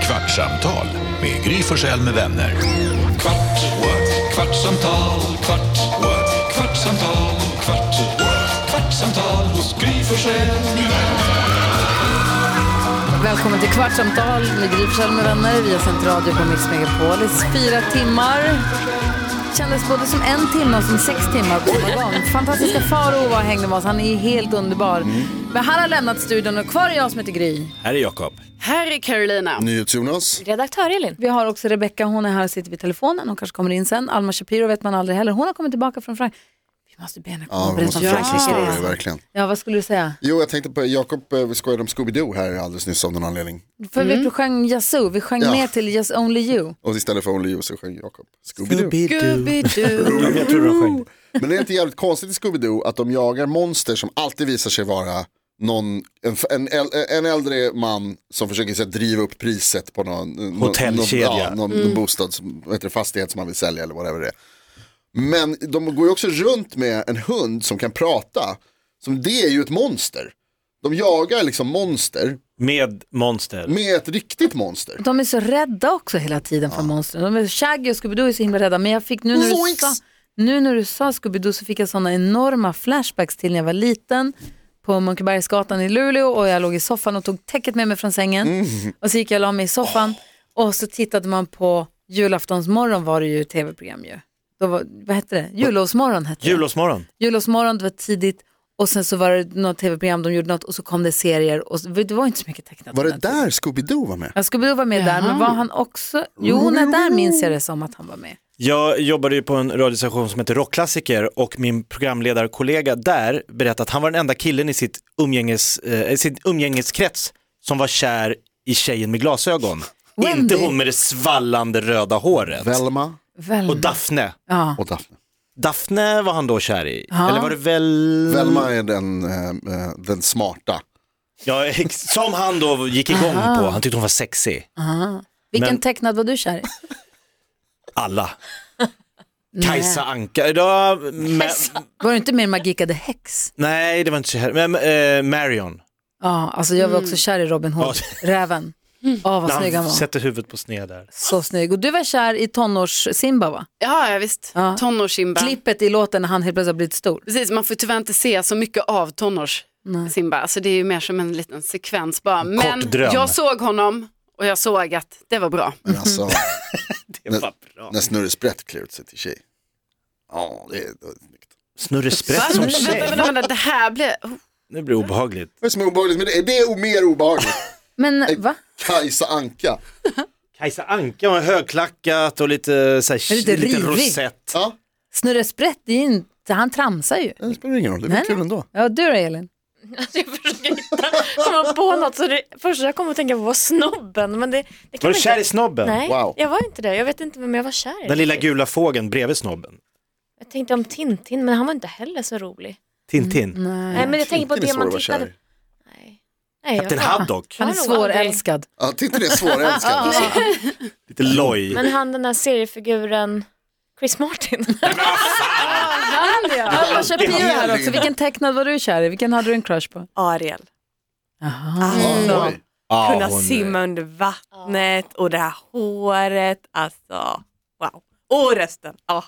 Kvartsamtal med Gry Forssell med vänner. Kvart, what? kvartsamtal, kvart, what? kvartsamtal, kvart, what? kvartsamtal hos Gry Forssell med vänner. Välkommen till Kvartsamtal med Gry Forssell med vänner. Vi har sänt radio på Mix Megapol i fyra timmar. Kändes både som en timme och som sex timmar på samma gång. Fantastiska Farao var och hängde med oss. Han är ju helt underbar. Mm. Men han har lämnat studion och kvar är jag som heter Gry. Här är Jakob. Här är Carolina. NyhetsJonas. Redaktör Elin. Vi har också Rebecca, hon är här och sitter vid telefonen. Hon kanske kommer in sen. Alma Shapiro vet man aldrig heller. Hon har kommit tillbaka från Frankrike. Vi måste be henne komma Ja, och det berätta måste om vara en story, Frankrike. verkligen. Ja, vad skulle du säga? Jo, jag tänkte på, Jakob eh, skojade om Scooby-Doo här alldeles nyss av någon anledning. För vi sjöng Yazoo, vi sjöng Ja. ner till Yes Only You. Och istället för Only You så sjöng Jakob Scooby-Doo. Scooby-Doo. Jag tror de sjöng. Men det är inte jävligt konstigt i Scooby-Doo att de jagar monster som alltid visar sig vara någon, en, en, äl- en äldre man som försöker så, här, driva upp priset på någon, någon- Hotellkedja. någon, ja, någon bostad, som, vad heter det, fastighet som man vill sälja eller whatever det är. Men de går ju också runt med en hund som kan prata, som det är ju ett monster. De jagar liksom monster Med monster. med ett riktigt monster. De är så rädda också hela tiden för monstren. De är Shaggy och Scooby-Doo är så himla rädda. Men jag fick nu när du Zoinks! sa, nu när du sa Scooby-Doo så fick jag sådana enorma flashbacks till när jag var liten på Munkebergsgatan i Luleå och jag låg i soffan och tog täcket med mig från sängen. Mm. Och så gick jag och la mig i soffan och så tittade man på julaftonsmorgon var det ju tv-program ju. Då var, vad hette det? Jullovsmorgon hette det Jullovsmorgon. jullovsmorgon, det var tidigt och sen så var det något tv-program, de gjorde något och så kom det serier och så, det var inte så mycket tecknat. Var på det den tiden. där Scooby-Doo var med? Ja, Scooby-Doo var med där, men var han också... Jo, nej, där minns jag det som att han var med. Jag jobbade ju på en radiostation som heter Rockklassiker och min programledarkollega där berättade att han var den enda killen i sitt, umgänges, eh, sin umgängeskrets som var kär i tjejen med glasögon. Wendy. Inte hon med det svallande röda håret. Velma Väl, Och Daphne. ja. och Daphne. Daphne var han då kär i. Eller var det väl... Velma är den, eh, eh, den smarta. Ja, ex- som han då gick igång på. Han tyckte hon var sexig. Vilken Men- tecknad var du kär i? Alla. Kajsa Anka. Ja, men, Var du inte med i Magica the Hex? nej, det var inte så här. Men, eh, Marion. Ja, alltså jag var också kär i Robin Hood, räven. Åh, vad snygg han Han var. sätter huvudet på sned där. Så snygg. Och du var kär i tonårs-Simba, va? Ja, ja visst. Ja. Tonårs-Simba. Klippet i låten när han helt plötsligt har blivit stor. Precis, man får tyvärr inte se så mycket av tonårs-Simba. Alltså, det är ju mer som en liten sekvens bara. Men dröm. jag såg honom och jag såg att det var bra. Men alltså, Det var bra. när Snurre Sprätt klär ut sig till tjej. Ja, det är, det är snyggt. Snurre Sprätt som Vänta, Alltså, vänta, tjej. vänta, vänta, det här blev... Oh, Nu blir det obehagligt. Vad är det som är obehagligt med det? Det är o- mer obehagligt. Men va? Kajsa Anka. Kajsa Anka har högklackat och lite, så här, Lite lite, rivig. rosett. Ja, Snurre Sprätt, det är ju inte, han tramsar ju. det spelar ingen roll, det Nej, var kul ändå. Ja, du då Elin? Alltså jag försöker hitta, komma på något. Så det, först jag kom att tänka på var snobben. Men det, det kan Var man du kär i inte, snobben? Nej, Wow. jag var inte det. Jag vet inte vem jag var kär i. Den lilla gula fågeln bredvid snobben. Jag tänkte om Tintin, men han var inte heller så rolig. Tintin. Nej, men jag tänker på Tintin är det svår man att vara tittade kär på. i. Nej. Nej, jag Kapten var- Haddock. Han är Jag har nog aldrig- svårälskad. Ja, titta det är svårälskad. Alltså. Lite loj. Men han den här seriefiguren Chris Martin. Alma Shapiro är här Elin. också. Vilken tecknad var du kär i? Vilken hade du en crush på? Ariel. Alltså, Aha. Ja, oj. Ah, Kunna hon är- simma under vattnet och det här håret. Alltså, wow. Och rösten. Ja,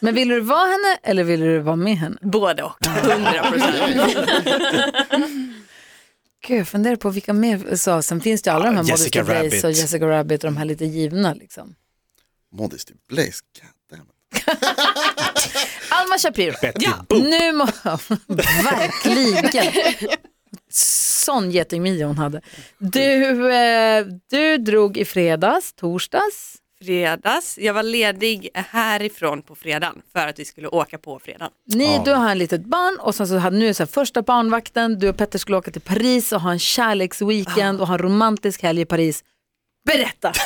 Men ville du vara henne eller ville du vara med henne? både och. 100 procent. Gud, jag funderar på vilka mer, så, sen finns det ju alla de här Ah, Jessica Modest Rabbit. Days och Rabbit. Jessica Rabbit och de här lite givna liksom. Modesty typ Blaze, goddammit. Alma Shapiro. Betty Boop. Nu må... Verkligen. Sån getingmio hon hade. Du, eh, du drog i fredags, torsdags. Fredags. Jag var ledig härifrån på fredagen för att vi skulle åka på fredagen. Ni, du har en litet barn och sen så hade nu så här, första barnvakten, du och Petter skulle åka till Paris och ha en kärleksweekend och ha en romantisk helg i Paris. Berätta!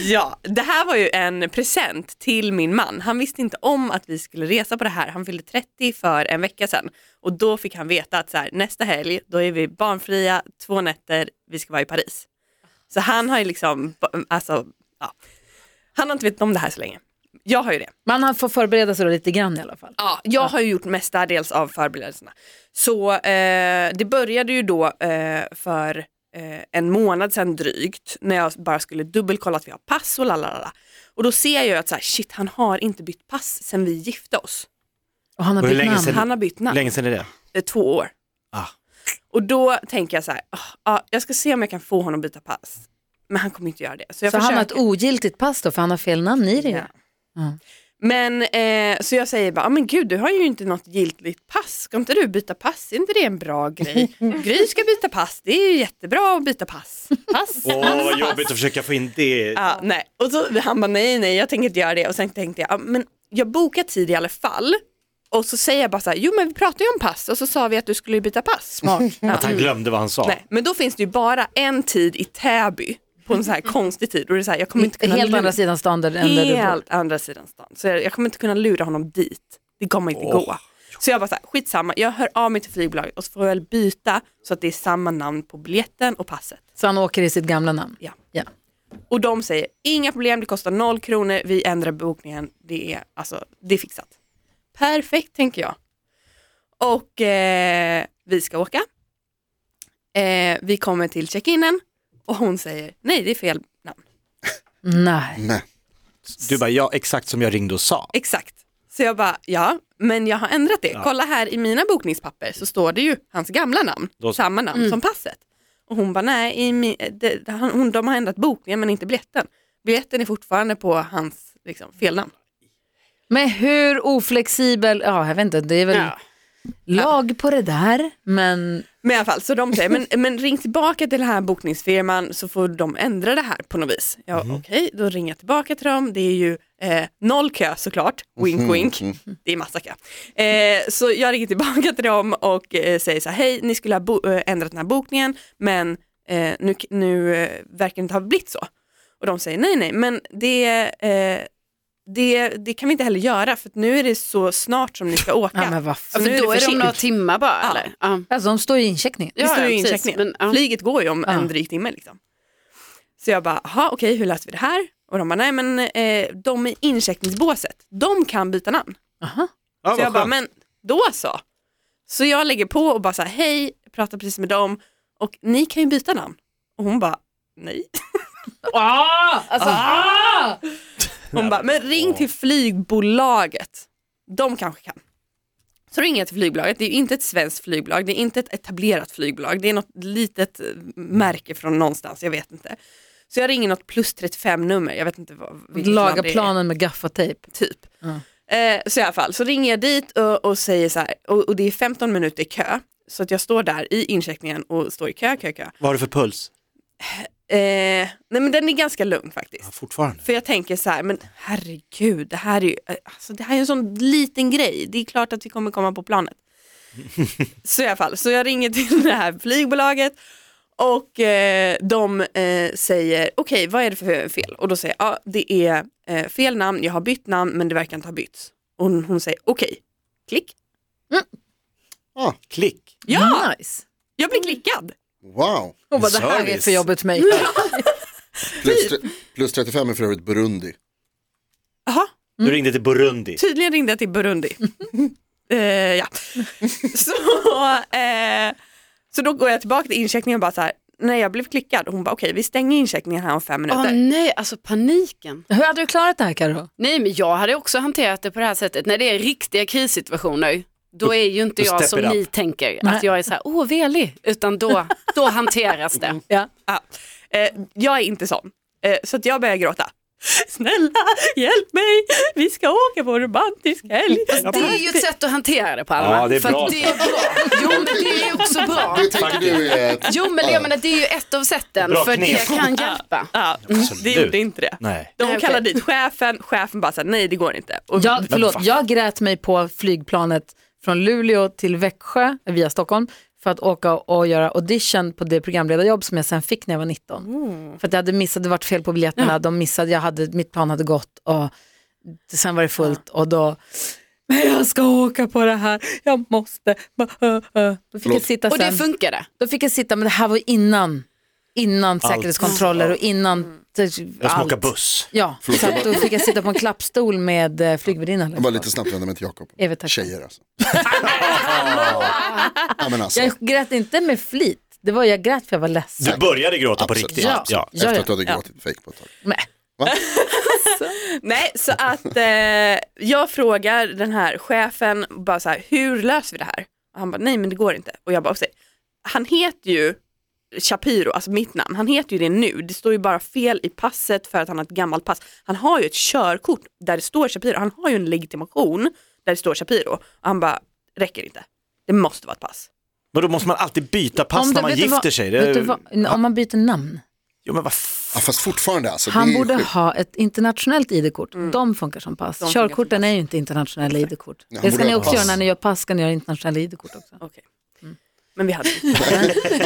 Ja, det här var ju en present till min man. Han visste inte om att vi skulle resa på det här. Han fyllde 30 för en vecka sedan och då fick han veta att så här, nästa helg, då är vi barnfria, två nätter, vi ska vara i Paris. Så han har ju liksom, alltså, ja. Han har inte vetat om det här så länge. Jag har ju det. Men han får förbereda sig då lite grann i alla fall. Ja, jag har ju gjort mestadels av förberedelserna. Så eh, det började ju då eh, för eh, en månad sedan drygt när jag bara skulle dubbelkolla att vi har pass och lalalala. Och då ser jag ju att så här, shit han har inte bytt pass sedan vi gifte oss. Och han har Var det bytt länge namn. sedan? Han har bytt namn. Länge sedan är det? Eh, två år. Ah. Och då tänker jag så här, "Ah, ja, jag ska se om jag kan få honom att byta pass. Men han kommer inte göra det. jag Så han har ett försöker. ogiltigt pass då, för han har fel namn i det ju. Ja. Men eh, så jag säger bara, "Ah, men gud du har ju inte något giltigt pass, ska inte du byta pass? Är inte det en bra grej? Gry ska byta pass, det är ju jättebra att byta pass. Pass, Åh, vad pass, pass. jobbigt att försöka få in det. Ja, nej. Och så han bara nej, nej, jag tänker inte göra det. Och sen tänkte jag, ja, men jag bokar tid i alla fall. Och så säger jag bara så här, jo men vi pratade ju om pass och så sa vi att du skulle byta pass. Smart. Ja. Att han glömde vad han sa. Nej, men då finns det ju bara en tid i Täby på en så här konstig tid. Och det är så här, jag kommer inte kunna Helt lura- andra sidan stan där, än där du bor. Helt andra sidan stan. Så jag, jag kommer inte kunna lura honom dit. Det kommer inte gå. Så jag bara så här, skitsamma, jag hör av mig till flygbolaget och så får jag väl byta så att det är samma namn på biljetten och passet. Så han åker i sitt gamla namn. Ja. Ja. Och de säger, inga problem, det kostar noll kronor, vi ändrar bokningen, det är, alltså, det är fixat. Perfekt tänker jag. Och eh, vi ska åka. Eh, vi kommer till check-inen och hon säger, nej det är fel namn. Nej. Nej. Du bara, ja exakt som jag ringde och sa. Exakt. Så jag bara, ja, men jag har ändrat det. Kolla här i mina bokningspapper så står det ju hans gamla namn, Då- samma namn som passet. Och hon bara, nej, i mi, det, han, hon, de har ändrat bokningen men inte biljetten. Biljetten är fortfarande på hans liksom, felnamn. Men hur oflexibel, ja jag vet inte, det är väl Ja. lag på det där, men Men i alla fall, så de säger, men, men ring tillbaka till den här bokningsfirman så får de ändra det här på något vis. Ja, Mhm. okej, då ringer jag tillbaka till dem. Det är ju eh, noll kö såklart, Mhm. wink wink. Det är massa kö. Eh, så jag ringer tillbaka till dem och eh, säger så här, hej, ni skulle ha bo- eh, ändrat den här bokningen, men eh, nu, nu eh, verkar det inte ha blivit så. Och de säger nej, nej, men det, eh, det, det kan vi inte heller göra för att nu är det så snart som ni ska åka. Ja, men vad fan. Så nu För Alltså, då är det om försenat. några timmar bara eller? Ja. alltså de står i incheckningen. Vi står ju i precis, incheckningen. men, ja. Flyget går ju om Ja. en dryg timme. Liksom. Så jag bara, jaha okej hur löser vi det här? Och de bara, nej men eh, de i incheckningsbåset, de kan byta namn. Aha. Ja, så jag vad bara, skönt. men då så. Så jag lägger på och bara så här, hej, jag pratar precis med dem och ni kan ju byta namn. Och hon bara, nej. Alltså, ah! Hon bara, men ring till flygbolaget. De kanske kan. Så ringer jag till flygbolaget. Det är ju inte ett svenskt flygbolag. Det är inte ett etablerat flygbolag. Det är något litet eh, märke från någonstans. Jag vet inte. Så jag ringer något plus 35 nummer. Jag vet inte vad. vilket Laga land det är planen med gaffatejp. typ. Eh, så i alla fall, så ringer jag dit och, och säger så här, och, och det är 15 minuter kö, så att jag står där i incheckningen och står i kö, kö, kö. Vad har du för puls? Eh, nej men den är ganska lugn Ja, faktiskt. fortfarande. För jag tänker så här, men herregud, det här är ju eh, alltså, det här är en sån liten grej. Det är klart att vi kommer komma på planet. så i alla fall, så jag ringer till det här flygbolaget och eh, de eh, säger, okej vad är det för fel? Och då säger jag, ja det är eh, fel namn, jag har bytt namn men det verkar inte ha bytts. Och hon, hon säger, okej, klick. Ah, Klick. Ja, Ah, Nice. jag blir klickad. Wow. Hon bara, det här är Service. för jobbigt för mig. Plus, tre- plus 35 är för övrigt Burundi. Jaha, Du ringde till Burundi. Tydligen ringde jag till Burundi. eh, ja. så, eh, så då går jag tillbaka till incheckningen och bara så här, nej jag blev klickad. Och hon bara okej vi stänger incheckningen här om fem Åh minuter. nej, alltså paniken. Hur hade du klarat det här Karo? Nej men jag hade också hanterat det på det här sättet. När det är riktiga krissituationer, då är ju inte Då jag step som it up. ni tänker, att jag är så här, åh velig, utan då, då hanteras det. Ja. Ja. Eh, jag är inte sån. Eh, så att jag börjar gråta. Snälla hjälp mig, vi ska åka på en romantisk helg. Det är ju ett sätt att hantera det på Alma. Ja, det är För att bra. Det är bra. Jo men det är också bra. Det tänker du är... Jo men jag menar det är ju ett av sätten Bra för knep. det kan hjälpa. Ja, det gjorde inte det. Nej. De Nej, okej. kallar dit chefen, chefen bara så här, nej det går inte. Och Jag, förlåt, jag grät mig på flygplanet från Luleå till Växjö via Stockholm för att åka och göra audition på det programledarjobb som jag sen fick när jag var 19. Mm. För att jag hade missat, det var fel på biljetterna, de missade, jag hade, mitt plan hade gått och sen var det fullt och då, men jag ska åka på det här, jag måste. Då fick jag Förlåt. sitta Och det sen. funkade. Då fick jag sitta, men det här var innan, innan säkerhetskontroller och innan Jag ska allt. åka buss. Ja, så att då fick jag sitta på en klappstol med eh, flygvärdinnan. Jag bara lite snabbt vänder mig till Jakob. Evert, tack. Tjejer alltså. ja, men alltså. Jag grät inte med flit. Det var, jag grät för jag var ledsen. Du började gråta Absolut. på riktigt. Ja. Ja. Ja, Efter ja. att du hade Ja. gråtit fake på ett tag. Nej. Nej, så att eh, jag frågar den här chefen, bara så här, hur löser vi det här? Och han bara, nej men det går inte. Och jag bara, "Okej." han heter ju Shapiro, alltså mitt namn, han heter ju det nu. Det står ju bara fel i passet för att han har ett gammalt pass. Han har ju ett körkort där det står Shapiro, han har ju en legitimation där det står Shapiro. Och han bara, räcker inte. Det måste vara ett pass. Men då måste man alltid byta pass Om när du- man vet du gifter vad- sig. vet Det, du vad- Om man byter namn. jo, men vad f- Ja, fast fortfarande alltså. Han det är borde sjukt. ha ett internationellt ID-kort. De funkar som pass. funkar som Körkorten är ju inte internationella ID-kort. han Det ska borde ni ha också pass. göra när ni gör pass, ska ni göra internationella ID-kort också. Okej. Men vi hade inte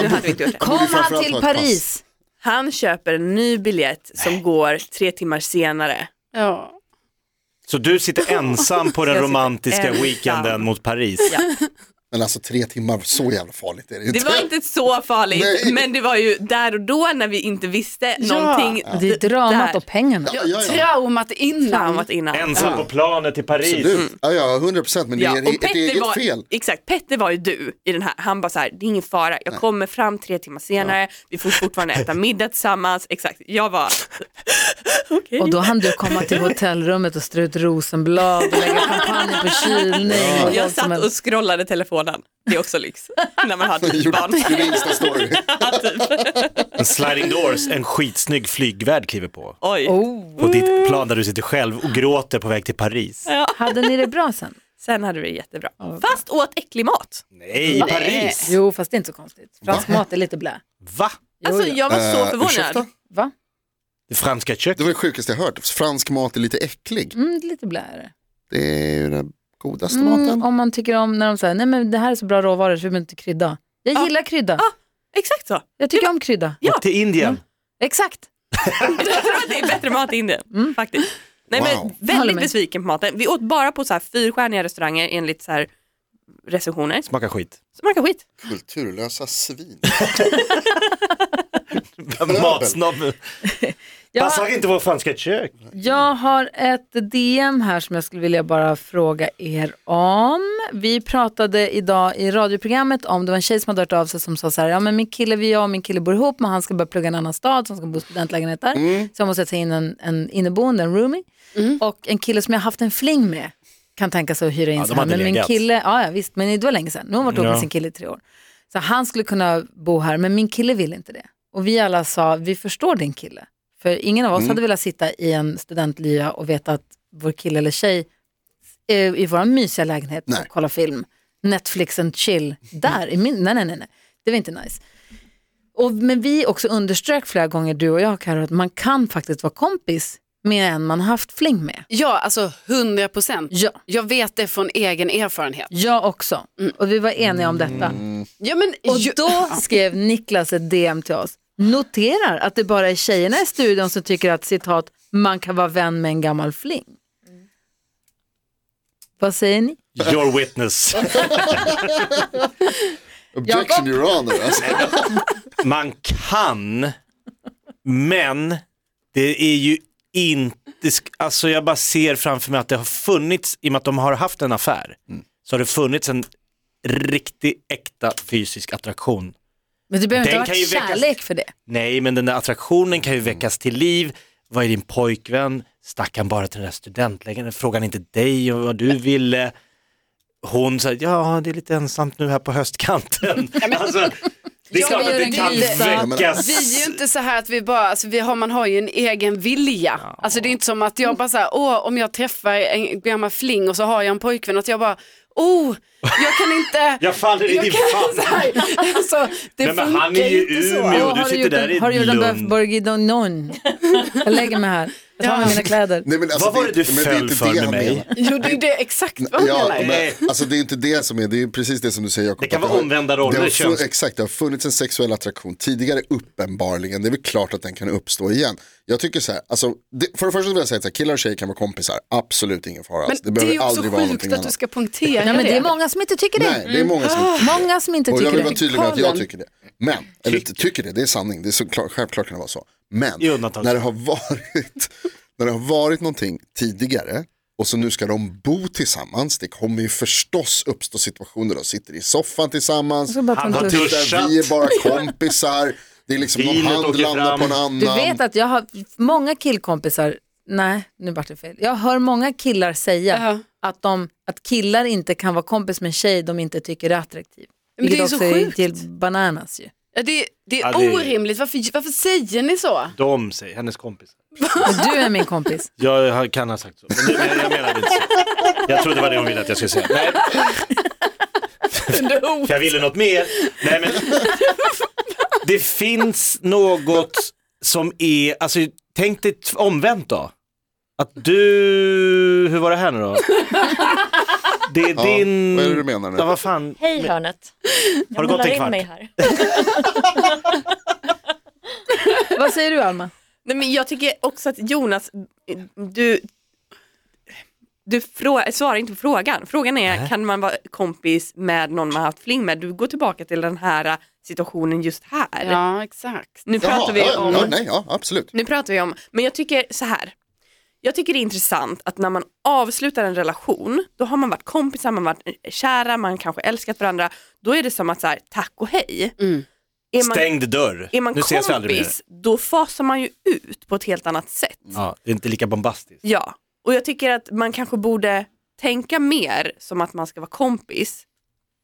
Nu hade vi inte gjort det. Kom han framförallt till ha ett pass. Paris? Han köper en ny biljett som går tre timmar senare. Ja. Så du sitter ensam på den Jag sitter romantiska ensam. weekenden mot Paris. Men alltså tre timmar, så jävla farligt är det ju Det var inte så farligt, Nej. men det var ju där och då när vi inte visste någonting. Det är dramat där. och pengarna. Ja, ja, ja. Traumat innan. Traumat innan. Ensam på planet till Paris. Absolut. Ja, ja, 100 procent. Men Mm. Ja, det är och ett Petter eget var, fel. exakt, Petter var ju du i den här. Han bara så här, det är ingen fara, jag kommer fram tre timmar senare, vi får fortfarande äta middag tillsammans. Exakt, jag var okej. Och då hann du komma till hotellrummet och strö ut rosenblad och lägga champagne på kylning. Och Jag allt som satt en- och scrollade telefonen, det är också lyx när man har ett Gjorde barn. gjorde Insta-story. En sliding doors, en skitsnygg flygvärd kliver på. Oj, oh. På ditt plan där du sitter själv och gråter på väg till Paris. Hade ni det bra sen? sen hade vi det jättebra. Fast åt äcklig mat. Nej, i Paris! Jo, fast det är inte så konstigt. Fransk mat är lite blä. Va? Jo, Alltså jo. jag var så Eh, ursäkta? förvånad. Va? Det franska Det köket? var det sjukaste jag hört. Fransk mat är lite äcklig. Mm, lite blä är det. Det är ju den godaste Mm, maten. om man tycker om när de säger, nej men det här är så bra råvaror så vi behöver inte krydda. Jag Ja. gillar krydda. Exakt så. Jag tycker om krydda. Ja. Till Indien. Exakt. Jag tror att det är bättre mat i Indien, faktiskt. Nej, Wow. men Mm. Håller väldigt med. besviken på maten. Vi åt bara på så här fyrstjärniga restauranger enligt så här recensioner. Smakar skit. Smakar skit. Kulturlösa svin. Matsnobb. Jag, Passar inte vår franska kök. jag har ett DM här som jag skulle vilja bara fråga er om. Vi pratade idag i radioprogrammet om, det var en tjej som hade hört av sig som sa så här, ja men min kille, vi jag och min kille bor ihop men han ska börja plugga i en annan stad så han ska bo i studentlägenhet där. Mm. Så jag måste ta in en, en inneboende, en roomie. Och en kille som jag haft en fling med kan tänka sig att hyra in Ja, de sig här. hade Men min legat. kille, ja ja, visst, men det var länge sedan. Nu har hon varit ihop med Ja. sin kille i tre år. Så han skulle kunna bo här, men min kille vill inte det. Och vi alla sa, vi förstår din kille. För ingen av oss hade velat sitta i en studentlya och veta att vår kille eller tjej eh, i vår mysiga lägenhet Nej. och kolla film. Netflix and chill, där, i min, nej nej nej, nej. det var inte nice. Och, men vi också underströk flera gånger, du och jag Karo, att man kan faktiskt vara kompis med en man haft fling med. Ja, alltså 100 procent. Ja. Jag vet det från egen erfarenhet. Jag också. Och vi var eniga om detta. Ja, men, Och ju- då skrev Niklas ett DM till oss. Noterar att det bara är tjejerna i studion som tycker att citat, man kan vara vän med en gammal fling. Vad säger ni? Your witness. Objection your honor. Alltså. Man kan, men det är ju inte, sk- alltså jag bara ser framför mig att det har funnits, i och med att de har haft en affär, så har det funnits en riktig äkta fysisk attraktion. Men det behöver Den inte ha kan ju varit väckas- kärlek för det. Nej, men den där attraktionen kan ju väckas till liv. Vad är din pojkvän? Stack han bara till den där studentlägenheten? Frågade han inte dig och vad du ville? Hon sa, ja det är lite ensamt nu här på höstkanten. Alltså, det är Ja, klart vi att gör det en kan gris. väckas. Vi är ju inte så här att vi bara, alltså vi har, man har ju en egen vilja. Alltså det är inte som att jag bara så här, åh om jag träffar en gammal fling och så har jag en pojkvän att jag bara, oh, jag kan inte. Jag faller i jag din kan- famn. så här, alltså, det Nej, men funkar han är ju inte så. Umeå. Åh, du har, du sitter gjort där i en, har du gjort en Lund. böfburg i Donnon? Jag lägger mig här. Jag tar med mina kläder. Nej, men alltså, Vad var det du men föll inte för det med han mig? menar. Jo det är det är exakt vad jag Ja, menar. men, alltså det är inte det som är, det är precis det som du säger Jakob. Det kan att vara har- omvända roller, det har köns- fun- Exakt, det har funnits en sexuell attraktion tidigare uppenbarligen. Det är väl klart att den kan uppstå igen. Jag tycker så här, alltså, det, för det första vill jag säga att så här, killar och tjejer kan vara kompisar, absolut ingen fara. Men alls. alltså, det det, är behöver ju också aldrig vara sjukt någonting att du annat. ska Ah. punktera Ja, men det är många som inte tycker det. Nej, det är många som inte tycker det. Många som inte Och jag tycker vill vara det. tydlig med att jag Karlen. tycker det. Men, eller inte tycker det, det är sanning, det är såklart, självklart kan det vara så. Men, I undantags- när det har varit, när det har varit någonting tidigare Och så nu ska de bo tillsammans. Det kommer ju förstås uppstå situationer. De sitter i soffan tillsammans. ska bara Han har punkt tur. ut. Där vi är bara kompisar. Det är liksom någon Bilen hand åker landar fram. på en annan. Du vet att jag har många killkompisar, nej nu vart det fel, jag hör många killar säga Ja. att, de, att killar inte kan vara kompis med en tjej de inte tycker är attraktiv. Men det är ju Vilket så också är sjukt. till bananas ju. Ja, det, det är Ja, det- orimligt, varför, varför säger ni så? De säger, hennes kompis. Men du är min kompis. Jag har- kan ha sagt så, men jag, jag menade inte så. Jag trodde det var det hon ville att jag skulle säga. Nej. För jag ville något mer. Nej, men... Det finns något som är, alltså tänk dig t- omvänt då. Att du, hur var det här nu då? Det är Ja, din... vad är det du menar nu? Ja, vad fan. Hej hörnet. Jag Har det gått målar en in kvart? mig här. Vad säger du Alma? Nej, men jag tycker också att Jonas, du, du frå- svarar inte på frågan. Frågan är, kan man vara kompis med någon man har haft fling med? Du går tillbaka till den här ä, situationen just här. Ja, exakt. Nu Jaha, pratar vi ja, om ja, nej, ja, absolut. Nu pratar vi om, men jag tycker så här. Jag tycker det är intressant att när man avslutar en relation, då har man varit kompisar, man har varit kära, man kanske älskat varandra. Då är det som att så här, tack och hej. Mm. Är man, Stängd dörr. är man nu ses vi aldrig mer. kompis, då fasar man ju ut på ett helt annat sätt. Ja, det är inte lika bombastiskt. Ja, och jag tycker att man kanske borde tänka mer som att man ska vara kompis.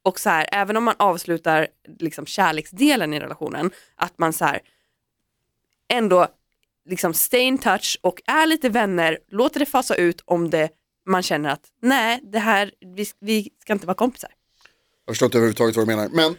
Och så här, även om man avslutar liksom kärleksdelen i relationen, att man så här ändå liksom stay in touch och är lite vänner, låter det fasa ut om det man känner att nej, det här, vi, vi ska inte vara kompisar. Jag förstår inte överhuvudtaget vad du menar. Men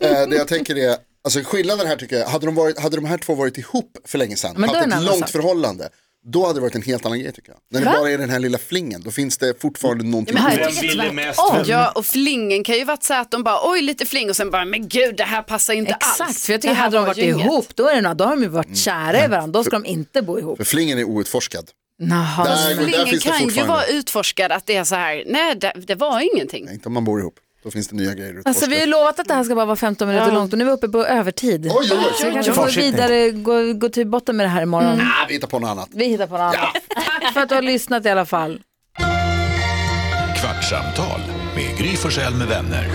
eh, det jag tänker är, alltså skillnaden här tycker jag, hade de, varit, hade de här två varit ihop för länge sedan, Men då är det haft en ett annan långt sak. förhållande, då hade det varit en helt annan grej tycker jag. När det bara är den här lilla flingen, då finns det fortfarande någonting. Mm. men här- kvar. Vem tycker ville tvärtom. mest? Vem Ja, och flingen kan ju varit så här att de bara oj lite fling och sen bara men gud det här passar inte Exakt, alls. för jag tycker Det här hade de var varit ju inget. ihop då, är det, nå- då har de ju Mm. varit kära i varandra, då ska de inte bo ihop. Alltså, För flingen är outforskad. Naha, Där- men- men där Flingen finns det kan ju fortfarande. vara utforskad att det är så här, nej det, det var ingenting. Nej, inte om man bor ihop, då finns det nya grejer att utforska. Alltså vi har ju lovat att det här ska bara vara 15 minuter långt och nu är vi uppe på övertid. Oj, oj, Så vi oj. kanske får gå Fortsättning. vidare, gå, gå till botten med det här imorgon. Mm. Ah, vi hittar på något annat. Vi hittar på något annat. Tack för att du har lyssnat i alla fall. Kvartsamtal med Gry Forssell med vänner.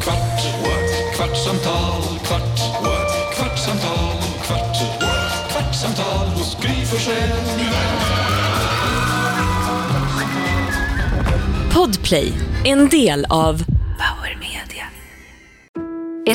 Kvart, what? kvartsamtal, kvart, what? kvartsamtal, kvart, what? kvartsamtal hos Gry Forssell med vänner. Podplay, en del av Power Media. Är